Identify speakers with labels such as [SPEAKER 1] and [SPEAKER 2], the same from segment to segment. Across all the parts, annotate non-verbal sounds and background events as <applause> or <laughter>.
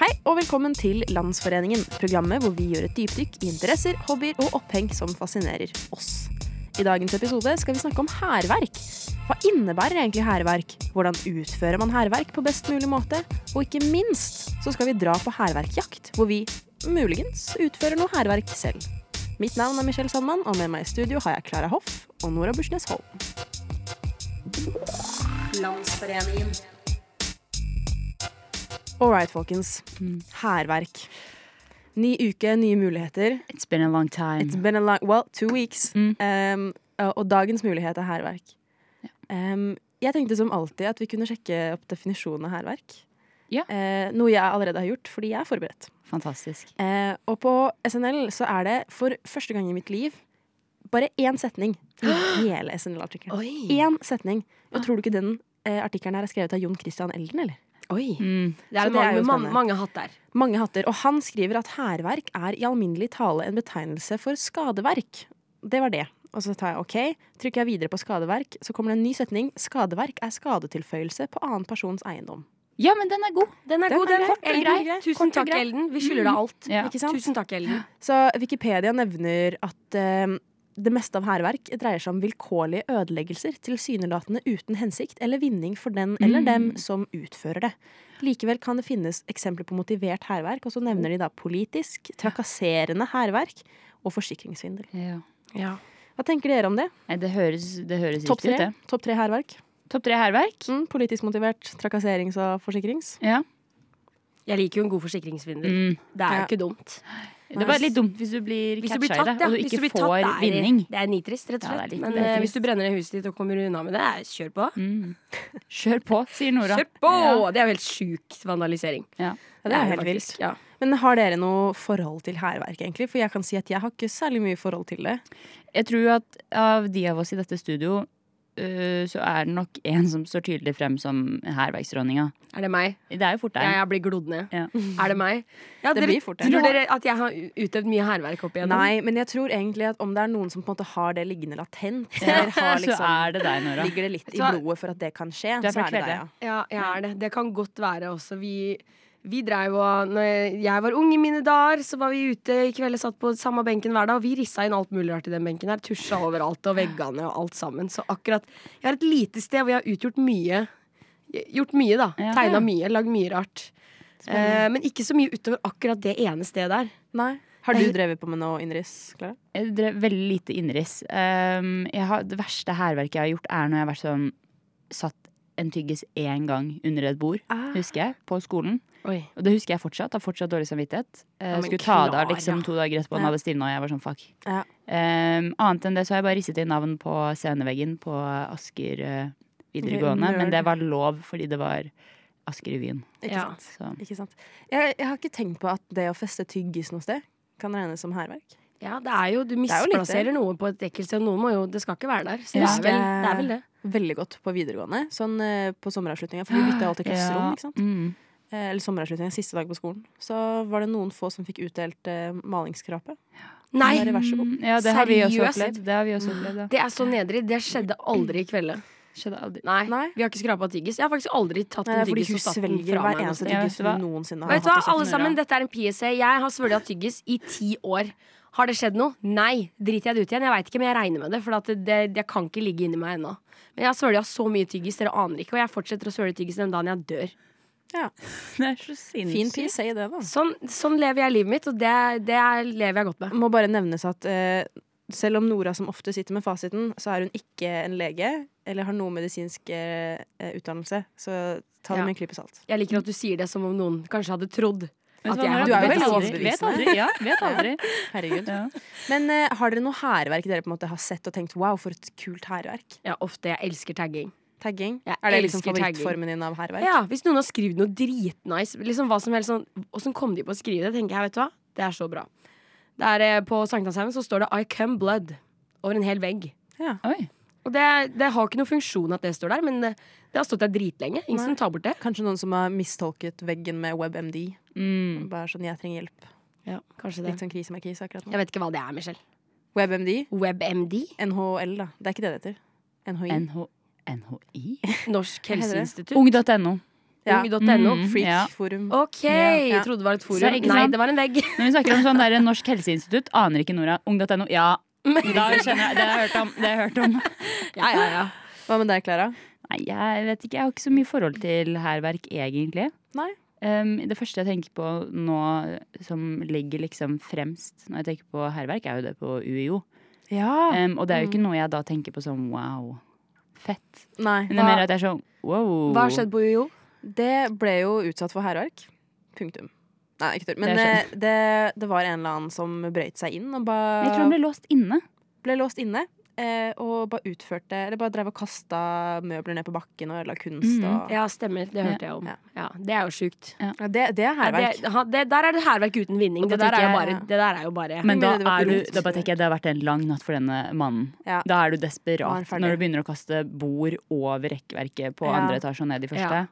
[SPEAKER 1] Hei og velkommen til Landsforeningen, programmet hvor vi gjør et dypdykk i interesser, hobbyer og oppheng som fascinerer oss. I dagens episode skal vi snakke om hærverk. Hva innebærer egentlig hærverk? Hvordan utfører man hærverk på best mulig måte? Og ikke minst så skal vi dra på hærverkjakt, hvor vi muligens utfører noe hærverk selv. Mitt navn er Michelle Sandmann, og med meg i studio har jeg Klara Hoff og Nora Bursnes Holm.
[SPEAKER 2] Landsforeningen.
[SPEAKER 1] All right, folkens. Hærverk. Ny uke, nye muligheter.
[SPEAKER 2] It's been a long time.
[SPEAKER 1] It's been a long, well, two weeks.
[SPEAKER 2] Mm.
[SPEAKER 1] Um, og og dagens mulighet er hærverk. Um, jeg tenkte som alltid at vi kunne sjekke opp definisjonen av hærverk.
[SPEAKER 2] Ja.
[SPEAKER 1] Eh, noe jeg allerede har gjort, fordi jeg er forberedt.
[SPEAKER 2] Fantastisk.
[SPEAKER 1] Eh, og på SNL så er det for første gang i mitt liv bare én setning i hele SNL-artikkelen.
[SPEAKER 3] Oi.
[SPEAKER 1] Én setning. Og tror du ikke den eh, artikkelen her er skrevet av Jon Christian Elden, eller?
[SPEAKER 3] Oi.
[SPEAKER 2] Mm.
[SPEAKER 3] Det er,
[SPEAKER 1] Så det er jo
[SPEAKER 3] mange, man,
[SPEAKER 1] spennende.
[SPEAKER 3] mange hatt der.
[SPEAKER 1] Mange hatter, og han skriver at hærverk er i alminnelig tale en betegnelse for skadeverk. Det var det. Og så tar jeg OK, trykker jeg videre på skadeverk, så kommer det en ny setning. Skadeverk er skadetilføyelse på annen persons eiendom.
[SPEAKER 2] Ja, men den er god.
[SPEAKER 3] Den er
[SPEAKER 1] Den
[SPEAKER 3] god,
[SPEAKER 1] er
[SPEAKER 3] den.
[SPEAKER 1] kort og
[SPEAKER 3] Elden,
[SPEAKER 1] grei. Kort
[SPEAKER 3] Tusen
[SPEAKER 1] og
[SPEAKER 3] takk,
[SPEAKER 1] grei.
[SPEAKER 3] Elden. Vi skylder deg alt.
[SPEAKER 2] Ja.
[SPEAKER 1] Ikke sant?
[SPEAKER 3] Tusen takk, Elden.
[SPEAKER 1] Så Wikipedia nevner at eh, det meste av hærverk dreier seg om vilkårlige ødeleggelser, tilsynelatende uten hensikt eller vinning for den eller dem som utfører det. Likevel kan det finnes eksempler på motivert hærverk, og så nevner de da politisk, trakasserende hærverk og forsikringssvindel.
[SPEAKER 3] Ja.
[SPEAKER 1] Hva tenker dere om det?
[SPEAKER 2] Nei, det høres, det høres
[SPEAKER 1] Topp
[SPEAKER 2] riktig ut,
[SPEAKER 1] tre,
[SPEAKER 2] det.
[SPEAKER 1] Topp tre hærverk.
[SPEAKER 2] Topp tre hærverk.
[SPEAKER 1] Mm, politisk motivert trakasserings- og forsikrings.
[SPEAKER 2] Ja.
[SPEAKER 3] Jeg liker jo en god forsikringssvindel.
[SPEAKER 2] Mm.
[SPEAKER 3] Det er jo
[SPEAKER 1] Ja.
[SPEAKER 3] ikke dumt.
[SPEAKER 2] Det er bare litt dumt hvis du blir
[SPEAKER 3] Hvis du blir
[SPEAKER 2] catcha i
[SPEAKER 3] tatt,
[SPEAKER 2] det,
[SPEAKER 3] ja.
[SPEAKER 2] og du
[SPEAKER 3] Hvis
[SPEAKER 2] ikke
[SPEAKER 3] du blir
[SPEAKER 2] får
[SPEAKER 3] tatt, det er,
[SPEAKER 2] vinning.
[SPEAKER 3] Det er nitrist, rett
[SPEAKER 2] Ja,
[SPEAKER 3] og
[SPEAKER 2] det er
[SPEAKER 3] slett.
[SPEAKER 2] litt
[SPEAKER 3] Men
[SPEAKER 2] nitrist.
[SPEAKER 3] eh, hvis du brenner ned huset ditt og kommer unna med det, eh, kjør på.
[SPEAKER 2] Mm. Kjør på, sier Nora.
[SPEAKER 3] Kjør på!
[SPEAKER 2] Ja.
[SPEAKER 3] Det er jo helt sjuk vandalisering.
[SPEAKER 2] Ja.
[SPEAKER 1] Ja, det er jo helt
[SPEAKER 3] faktisk.
[SPEAKER 1] vilt.
[SPEAKER 3] Ja.
[SPEAKER 1] Men har dere noe forhold til hærverk, egentlig? For jeg kan si at jeg har ikke særlig mye forhold til det.
[SPEAKER 2] Jeg tror at av de av oss i dette studio, øh, så er det nok en som står tydelig frem som hærverksdronninga.
[SPEAKER 3] Er det meg?
[SPEAKER 2] Det er jo fort
[SPEAKER 3] Jeg,
[SPEAKER 2] deg.
[SPEAKER 3] jeg blir glodd ned.
[SPEAKER 2] Ja.
[SPEAKER 3] Er det meg? Ja,
[SPEAKER 1] Det
[SPEAKER 3] dere-
[SPEAKER 1] blir fort det.
[SPEAKER 3] Tror dere at jeg har utøvd mye hærverk opp igjennom?
[SPEAKER 1] Nei, men jeg tror egentlig at om det er noen som på en måte har det liggende latent,
[SPEAKER 2] <laughs>
[SPEAKER 1] eller har
[SPEAKER 2] Så
[SPEAKER 1] liksom,
[SPEAKER 2] er det deg, Nora.
[SPEAKER 1] ligger det litt i
[SPEAKER 3] Så-
[SPEAKER 1] blodet for at det kan skje,
[SPEAKER 2] Du er
[SPEAKER 1] så
[SPEAKER 2] fra
[SPEAKER 1] er det deg, ja.
[SPEAKER 2] Kleve.
[SPEAKER 3] Ja, jeg er det. Det kan godt være også. Vi, vi dreiv og Når jeg var ung i mine dager, så var vi ute i kveld og satt på samme benken hver dag, og vi rissa inn alt mulig rart i den benken her. Tusja overalt og veggene og alt sammen. Så akkurat Jeg har et lite sted hvor jeg har utgjort mye. Gjort mye, da.
[SPEAKER 2] Ja.
[SPEAKER 3] Tegna mye, lagd mye rart. Eh, men ikke så mye utover akkurat det ene stedet der.
[SPEAKER 1] Nei. Har du drevet på med noe innenriks, Klara?
[SPEAKER 2] Jeg drev Eh, veldig lite innenriks. Um, jeg har, det verste hærverket jeg har gjort, er når jeg har vært sånn satt en tyggis én gang under et bord, husker jeg, på skolen.
[SPEAKER 3] Oi.
[SPEAKER 2] Og det husker jeg fortsatt. Har fortsatt dårlig samvittighet. Eh,
[SPEAKER 1] men
[SPEAKER 2] skulle ta det av
[SPEAKER 1] Klara.
[SPEAKER 2] liksom to dager etterpå, den
[SPEAKER 1] Ja.
[SPEAKER 2] hadde stilna, og jeg var sånn fuck.
[SPEAKER 1] Ja.
[SPEAKER 2] Um, annet enn det så har jeg bare risset inn navn på sceneveggen på Asker eh, videregående,
[SPEAKER 1] Nerd. Ah,
[SPEAKER 2] men det var lov fordi det var Asker-revyen.
[SPEAKER 1] Ikke
[SPEAKER 3] Ja.
[SPEAKER 1] sant?
[SPEAKER 2] Så
[SPEAKER 1] Ikke sant? Jeg, jeg har ikke tenkt på at det å feste tyggis noe sted kan regnes som hærverk.
[SPEAKER 3] Ja, det er jo Du
[SPEAKER 1] er jo litt det.
[SPEAKER 3] misplasserer noe på et ekkelt sted. Noen må jo Det skal ikke være der. Så det,
[SPEAKER 2] Ja.
[SPEAKER 3] er vel, det er vel det.
[SPEAKER 1] Veldig godt på videregående, sånn eh, på sommeravslutninga, for vi bytta
[SPEAKER 3] <gasps>
[SPEAKER 1] jo alltid klasserom,
[SPEAKER 2] Ja,
[SPEAKER 1] ikke sant?
[SPEAKER 2] Mm.
[SPEAKER 1] Eh, Eller sommeravslutninga, siste dag på skolen. Så var det noen få som fikk utdelt eh, malingsskrape.
[SPEAKER 3] Nei!
[SPEAKER 1] Bare vær så god.
[SPEAKER 2] Ja, det har vi også
[SPEAKER 3] Seriøst?
[SPEAKER 2] opplevd. Det har vi også opplevd, ja.
[SPEAKER 3] Det er så nedrig. Det skjedde aldri i kveld.
[SPEAKER 2] Skjedde aldri.
[SPEAKER 3] Nei,
[SPEAKER 1] Nei.
[SPEAKER 3] vi har ikke skrapa tyggis. Jeg har faktisk aldri tatt
[SPEAKER 1] Nei, det er
[SPEAKER 3] en
[SPEAKER 1] Eh, fordi
[SPEAKER 3] tyggis
[SPEAKER 1] hun
[SPEAKER 3] og satt den
[SPEAKER 1] svelger
[SPEAKER 3] fra
[SPEAKER 1] hver
[SPEAKER 3] meg. noe
[SPEAKER 1] eneste
[SPEAKER 3] sted.
[SPEAKER 2] Ja,
[SPEAKER 1] tyggis
[SPEAKER 2] vet du hva?
[SPEAKER 1] hun noensinne har
[SPEAKER 3] Vet du hva,
[SPEAKER 1] hatt. i kjeften.
[SPEAKER 3] alle sammen,
[SPEAKER 2] Nora.
[SPEAKER 3] dette er en PSA. Jeg har svølga tyggis i ti år. Har det skjedd noe? Nei. Driter jeg det ut igjen? Jeg veit ikke, men jeg regner med det. For at det, det, det kan ikke ligge inni meg ennå. Men jeg har svølga så mye tyggis, dere aner ikke. Og jeg fortsetter å svøle tyggis den dagen jeg dør.
[SPEAKER 2] Det er så sinnssykt.
[SPEAKER 1] Fin PSA, det, da.
[SPEAKER 3] Sånn, sånn lever jeg livet mitt, og det, det er- lever jeg godt med.
[SPEAKER 1] må bare nevnes at eh, selv om Nora som ofte sitter med fasiten, så er hun ikke en lege eller har noe medisinsk eh, utdannelse. Så ta det
[SPEAKER 3] Ja.
[SPEAKER 1] med en klype salt.
[SPEAKER 3] Jeg liker at du sier det som om noen kanskje hadde trodd
[SPEAKER 2] Vet
[SPEAKER 3] at
[SPEAKER 2] hva,
[SPEAKER 3] jeg
[SPEAKER 2] Nora?
[SPEAKER 1] Du er jo
[SPEAKER 3] hadde
[SPEAKER 2] Vet
[SPEAKER 1] veldig
[SPEAKER 2] aldri- Vet
[SPEAKER 1] overbevisende.
[SPEAKER 2] aldri. Ja, vet aldri.
[SPEAKER 1] Herregud.
[SPEAKER 2] Ja.
[SPEAKER 1] Men eh, har dere noe hærverk dere på en måte har sett og tenkt wow, for et kult hærverk?
[SPEAKER 3] Ja, ofte. Jeg elsker tagging.
[SPEAKER 1] Tagging?
[SPEAKER 3] Jeg
[SPEAKER 1] er det liksom
[SPEAKER 3] elsker tagging.
[SPEAKER 1] favorittformen din av hærverk?
[SPEAKER 3] Ja, Hvis noen har skrevet noe dritnice, liksom hva som helst sånn Åssen kom de på å skrive det? tenker jeg, vet du hva? Det er så bra. Det er, eh, på Sankthanshaugen så står det 'I come blood' over en hel vegg.
[SPEAKER 2] Oi.
[SPEAKER 3] Og det, det har ikke noen funksjon at det står der, men det, det har stått der dritlenge. Ingen som tar bort det.
[SPEAKER 1] Kanskje noen som har mistolket veggen med WebMD.
[SPEAKER 2] Mm.
[SPEAKER 1] Bare sånn 'jeg trenger hjelp'.
[SPEAKER 3] Ja, kanskje det.
[SPEAKER 1] Litt sånn krise med krise akkurat nå.
[SPEAKER 3] Jeg vet ikke hva det er, Michelle.
[SPEAKER 1] WebMD?
[SPEAKER 3] WebMD?
[SPEAKER 1] NHL, da. Det er ikke det det heter. NHI.
[SPEAKER 2] NH NHI?
[SPEAKER 3] Norsk
[SPEAKER 1] heter det?
[SPEAKER 3] helseinstitutt?
[SPEAKER 2] Ung.no.
[SPEAKER 1] Ja.
[SPEAKER 3] Ung.no.
[SPEAKER 2] Mm. Ja.
[SPEAKER 1] Freakforum.
[SPEAKER 3] OK!
[SPEAKER 1] Ja.
[SPEAKER 3] Jeg trodde det var et
[SPEAKER 2] Så,
[SPEAKER 3] forum.
[SPEAKER 2] ikke
[SPEAKER 3] Nei,
[SPEAKER 2] sant?
[SPEAKER 3] det var en vegg.
[SPEAKER 2] Når vi snakker om sånn der Norsk helseinstitutt, aner ikke Nora. Ung.no, ja. Da skjønner jeg, Det har jeg hørt om. Det har jeg hørt om.
[SPEAKER 3] Ja, ja, ja.
[SPEAKER 1] Hva med deg, Klara?
[SPEAKER 2] Nei, jeg vet ikke. Jeg har ikke så mye forhold til hærverk, egentlig.
[SPEAKER 1] Nei.
[SPEAKER 2] Um, det første jeg tenker på nå som ligger liksom fremst når jeg tenker på hærverk, er jo det på UiO.
[SPEAKER 1] Ja.
[SPEAKER 2] Um, og det er jo ikke noe jeg da tenker på som wow, fett.
[SPEAKER 1] Nei. Ah,
[SPEAKER 2] Men det er mer at jeg er sånn wow.
[SPEAKER 3] Hva har skjedd på UiO?
[SPEAKER 1] Det ble jo utsatt for hærverk. Punktum. Nei, ikke tull. Men
[SPEAKER 2] Det
[SPEAKER 1] det,
[SPEAKER 2] er
[SPEAKER 1] det, det var en eller annen som brøyt seg inn og ba,
[SPEAKER 2] Jeg tror han ble låst inne.
[SPEAKER 1] ble låst inne. Eh, og bare utførte Eller bare drev og kasta møbler ned på bakken og ødela kunst
[SPEAKER 2] Mhm.
[SPEAKER 1] og
[SPEAKER 3] Ja, stemmer. Det hørte jeg om.
[SPEAKER 1] Ja.
[SPEAKER 3] Ja, det er jo sjukt.
[SPEAKER 1] ja, det, det er
[SPEAKER 3] Ja,
[SPEAKER 1] hærverk.
[SPEAKER 3] det, ha- det, der er det hærverk uten vinning.
[SPEAKER 2] Og
[SPEAKER 3] Det
[SPEAKER 2] da
[SPEAKER 3] der, er jo
[SPEAKER 2] tenker
[SPEAKER 3] bare,
[SPEAKER 1] jeg-
[SPEAKER 3] det der er jo bare
[SPEAKER 2] Men da,
[SPEAKER 1] mindre det var
[SPEAKER 2] er du,
[SPEAKER 1] pilot.
[SPEAKER 2] da bare tenker jeg det har vært en lang natt for denne mannen.
[SPEAKER 1] Ja.
[SPEAKER 2] Da er du
[SPEAKER 1] Da er han
[SPEAKER 2] desperat
[SPEAKER 1] ferdig.
[SPEAKER 2] når du begynner å kaste bord over rekkverket på
[SPEAKER 1] Ja.
[SPEAKER 2] andre etasje og ned
[SPEAKER 1] <gasps>
[SPEAKER 2] i første.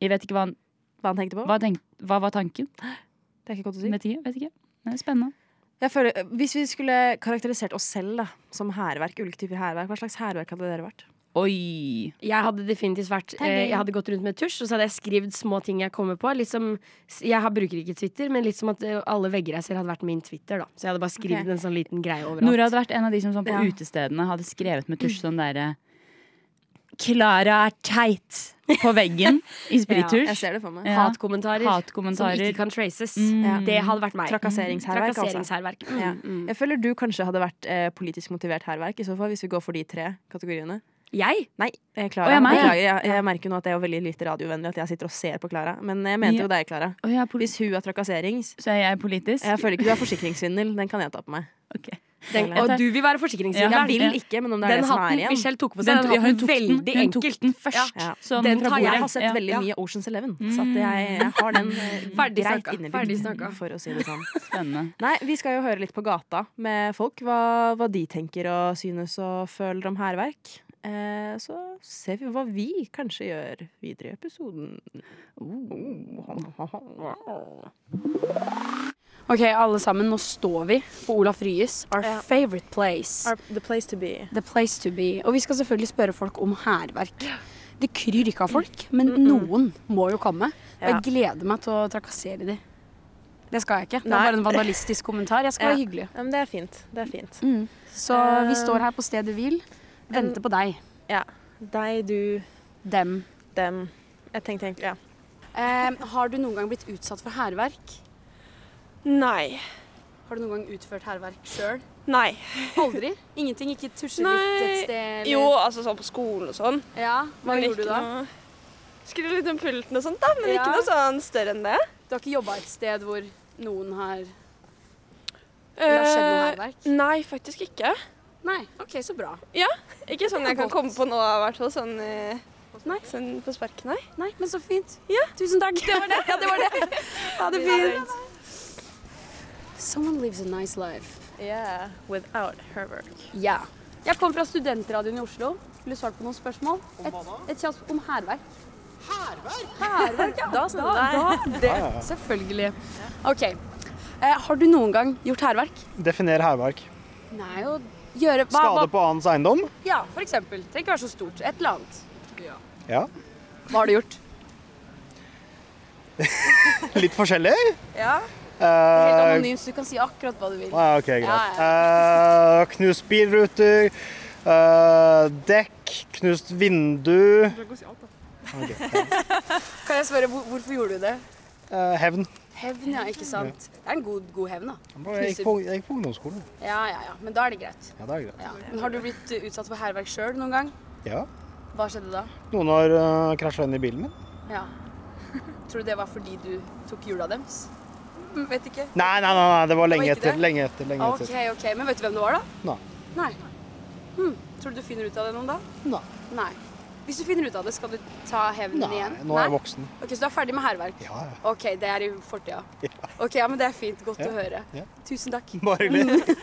[SPEAKER 2] Jeg vet ikke hva, han-
[SPEAKER 1] Hva han tenkte på?
[SPEAKER 2] hva, tenk, hva var tanken.
[SPEAKER 1] Det er ikke godt å si.
[SPEAKER 2] Vet ikke. Vet ikke. Det er spennende.
[SPEAKER 1] Jeg føler, hvis vi skulle karakterisert oss selv da, som hærverk, ulike typer hærverk, hva slags hærverk hadde dere vært?
[SPEAKER 2] Oi!
[SPEAKER 3] Jeg hadde definitivt vært
[SPEAKER 2] er
[SPEAKER 3] eh,
[SPEAKER 2] gøy.
[SPEAKER 3] Jeg hadde gått rundt med tusj, og så hadde jeg skrevet små ting jeg kommer på. Litt som, jeg har, bruker ikke Twitter, men litt som at eh, alle vegger jeg ser, hadde vært min Twitter. Da. Så jeg hadde bare skrevet
[SPEAKER 1] Ok.
[SPEAKER 3] en sånn liten greie overalt.
[SPEAKER 2] Nora hadde vært en av de som sånn på
[SPEAKER 1] Ja.
[SPEAKER 2] utestedene hadde skrevet med tusj sånn derre Klara er teit! På
[SPEAKER 1] <laughs>
[SPEAKER 2] veggen i sprittusj.
[SPEAKER 1] Jeg ser det for meg.
[SPEAKER 2] Ja.
[SPEAKER 3] Hatkommentarer,
[SPEAKER 2] Hatkommentarer.
[SPEAKER 3] som ikke kan traces.
[SPEAKER 2] Mm.
[SPEAKER 3] Det hadde vært meg.
[SPEAKER 1] Trakasseringshærverk, altså.
[SPEAKER 3] Trakasseringshærverk. Mm,
[SPEAKER 1] Ja.
[SPEAKER 3] mm.
[SPEAKER 1] Jeg føler du kanskje hadde vært eh, politisk motivert hærverk, i så fall, hvis vi går for de tre kategoriene.
[SPEAKER 3] Jeg?
[SPEAKER 1] Nei, eh,
[SPEAKER 2] Å,
[SPEAKER 1] Klara.
[SPEAKER 2] ja, meg, ja.
[SPEAKER 1] Beklager. Jeg, jeg merker jo nå at jeg er veldig lite radiovennlig, at jeg sitter og ser på Klara. Men jeg mente jo deg, Klara.
[SPEAKER 2] Å, jeg er poli-
[SPEAKER 1] Hvis hun er trakasserings
[SPEAKER 2] Så er jeg politisk?
[SPEAKER 1] Jeg føler ikke du er forsikringssvindel. Den kan jeg ta på meg.
[SPEAKER 2] <laughs> Ok.
[SPEAKER 3] Den,
[SPEAKER 1] Jeg
[SPEAKER 3] og
[SPEAKER 2] tar-
[SPEAKER 3] du vil være forsikringssvindler.
[SPEAKER 2] Ja.
[SPEAKER 1] Jeg vil ikke, men om det er
[SPEAKER 3] Den
[SPEAKER 1] det som er
[SPEAKER 3] hatten
[SPEAKER 1] igjen
[SPEAKER 3] Michelle tok på seg,
[SPEAKER 2] Den,
[SPEAKER 3] den,
[SPEAKER 2] ja, hun,
[SPEAKER 3] hatten
[SPEAKER 2] tok den,
[SPEAKER 3] veldig
[SPEAKER 2] hun tok
[SPEAKER 3] enkelt.
[SPEAKER 2] den først.
[SPEAKER 1] Ja.
[SPEAKER 2] Sånn fra
[SPEAKER 3] Den tar
[SPEAKER 2] bordet.
[SPEAKER 1] Jeg har sett
[SPEAKER 2] Ja.
[SPEAKER 1] veldig
[SPEAKER 3] Ja.
[SPEAKER 1] mye Oceans Eleven, så at jeg, jeg har den eh,
[SPEAKER 3] Ferdig
[SPEAKER 1] greit
[SPEAKER 3] snakka, ferdig
[SPEAKER 1] innebygd,
[SPEAKER 3] snakka.
[SPEAKER 1] for å si det sånn.
[SPEAKER 2] Spennende.
[SPEAKER 1] Nei, vi skal jo høre litt på gata med folk, hva, hva de tenker og synes og føler om hærverk. Eh, så ser vi hva vi kanskje gjør videre i episoden. Uh.
[SPEAKER 4] Ok, alle sammen, nå står vi på Olaf Ryes, our
[SPEAKER 1] Ja.
[SPEAKER 4] favorite place.
[SPEAKER 1] the place to be.
[SPEAKER 4] The place to be. Og vi skal selvfølgelig spørre folk om hærverk. Det kryr ikke av folk, men noen må jo komme. Og
[SPEAKER 1] Ja.
[SPEAKER 4] jeg gleder meg til å trakassere de. Det skal jeg ikke. Det
[SPEAKER 1] Nei.
[SPEAKER 4] var bare en vandalistisk kommentar. Jeg skal
[SPEAKER 1] Ja.
[SPEAKER 4] være hyggelig. Mm.
[SPEAKER 1] Ja, men det er fint. Det er fint.
[SPEAKER 4] Så vi står her på stedet hvil. Venter på deg.
[SPEAKER 1] Ja. Deg, du,
[SPEAKER 4] Dem.
[SPEAKER 1] dem. Jeg tenkte egentlig, ja.
[SPEAKER 4] Eh, har du noen gang blitt utsatt for hærverk?
[SPEAKER 5] Nei.
[SPEAKER 4] Har du noen gang utført hærverk sjøl?
[SPEAKER 5] Nei.
[SPEAKER 4] Aldri? Ingenting? Ikke tusje litt et
[SPEAKER 5] Nei.
[SPEAKER 4] sted? eller-
[SPEAKER 5] Jo, altså sånn på skolen og sånn.
[SPEAKER 4] Ja, hva
[SPEAKER 5] Men
[SPEAKER 4] gjorde du
[SPEAKER 5] ikke
[SPEAKER 4] da?
[SPEAKER 5] noe- Skulle litt om pulten og sånt, da, men
[SPEAKER 4] Ja.
[SPEAKER 5] ikke noe sånn større enn det.
[SPEAKER 4] Du har ikke jobba et sted hvor noen har Eller har skjedd noe hærverk?
[SPEAKER 5] Eh, nei, faktisk ikke.
[SPEAKER 4] Nei, OK, så bra.
[SPEAKER 5] Ikke sånn jeg kan komme på nå, i hvert fall. Sånn, eh, nei. sånn på sparket, nei.
[SPEAKER 4] Nei, men så fint. Tusen takk. Det var det. <laughs> Ja, det var det. Ha det fint. Someone lives a nice life.
[SPEAKER 5] Yeah, without her work.
[SPEAKER 4] Ja. Jeg kom fra studentradioen i Oslo. Vil du svare på noen spørsmål? Et, et kjapt om hærverk. Hærverk? Hærverk, ja. <laughs> Da, da, det. Selvfølgelig. OK. Eh, har du noen gang gjort hærverk?
[SPEAKER 6] Definer hærverk.
[SPEAKER 4] Nei, å gjøre hva,
[SPEAKER 6] Skade på annens eiendom.
[SPEAKER 4] Ja, for eksempel. Trenger ikke være så stort. Et eller annet.
[SPEAKER 6] Ja.
[SPEAKER 4] Hva har du gjort?
[SPEAKER 6] Litt forskjellig.
[SPEAKER 4] <laughs> Ja. Helt
[SPEAKER 6] Eh,
[SPEAKER 4] anonymt, så du kan si akkurat hva du vil.
[SPEAKER 6] ah, ok, greit. Eh, knust bilruter. eh, dekk. Knust vindu.
[SPEAKER 4] Kan jeg spørre, hvor- Hvorfor gjorde du det?
[SPEAKER 6] eh, hevn.
[SPEAKER 4] Hevn, ja. Ikke sant? Det er en god, god hevn, da.
[SPEAKER 6] Jeg gikk, på, jeg gikk på ungdomsskolen.
[SPEAKER 4] Ja, ja, ja. Men da er det greit.
[SPEAKER 6] Ja, det er greit.
[SPEAKER 4] Ja. Men Har du blitt eh, utsatt for hærverk sjøl noen gang?
[SPEAKER 6] Ja.
[SPEAKER 4] Hva skjedde da?
[SPEAKER 6] Noen har uh, krasja inn i bilen min.
[SPEAKER 4] Ja. <laughs> Tror du det var fordi du tok hjula deres? Mm, Vet ikke.
[SPEAKER 6] Nei, nei, nei, nei det var lenge
[SPEAKER 4] Det var ikke
[SPEAKER 6] etter.
[SPEAKER 4] det?
[SPEAKER 6] Lenge etter. lenge
[SPEAKER 4] Ok,
[SPEAKER 6] etter.
[SPEAKER 4] ok. Men vet du hvem det var, da?
[SPEAKER 6] Nei.
[SPEAKER 4] Nei. Hm. Tror du du finner ut av det noen dag?
[SPEAKER 6] Nei.
[SPEAKER 4] Nei. Hvis du finner ut av det, skal du ta hevnen
[SPEAKER 6] Nei,
[SPEAKER 4] igjen?
[SPEAKER 6] nå er jeg voksen.
[SPEAKER 4] Ok, Så du er ferdig med hærverk?
[SPEAKER 6] Ja, ja.
[SPEAKER 4] Ok, det er i fortida. Ok, ja, men det er fint. Godt å høre.
[SPEAKER 6] ja.
[SPEAKER 4] Tusen takk.
[SPEAKER 6] Bare hyggelig.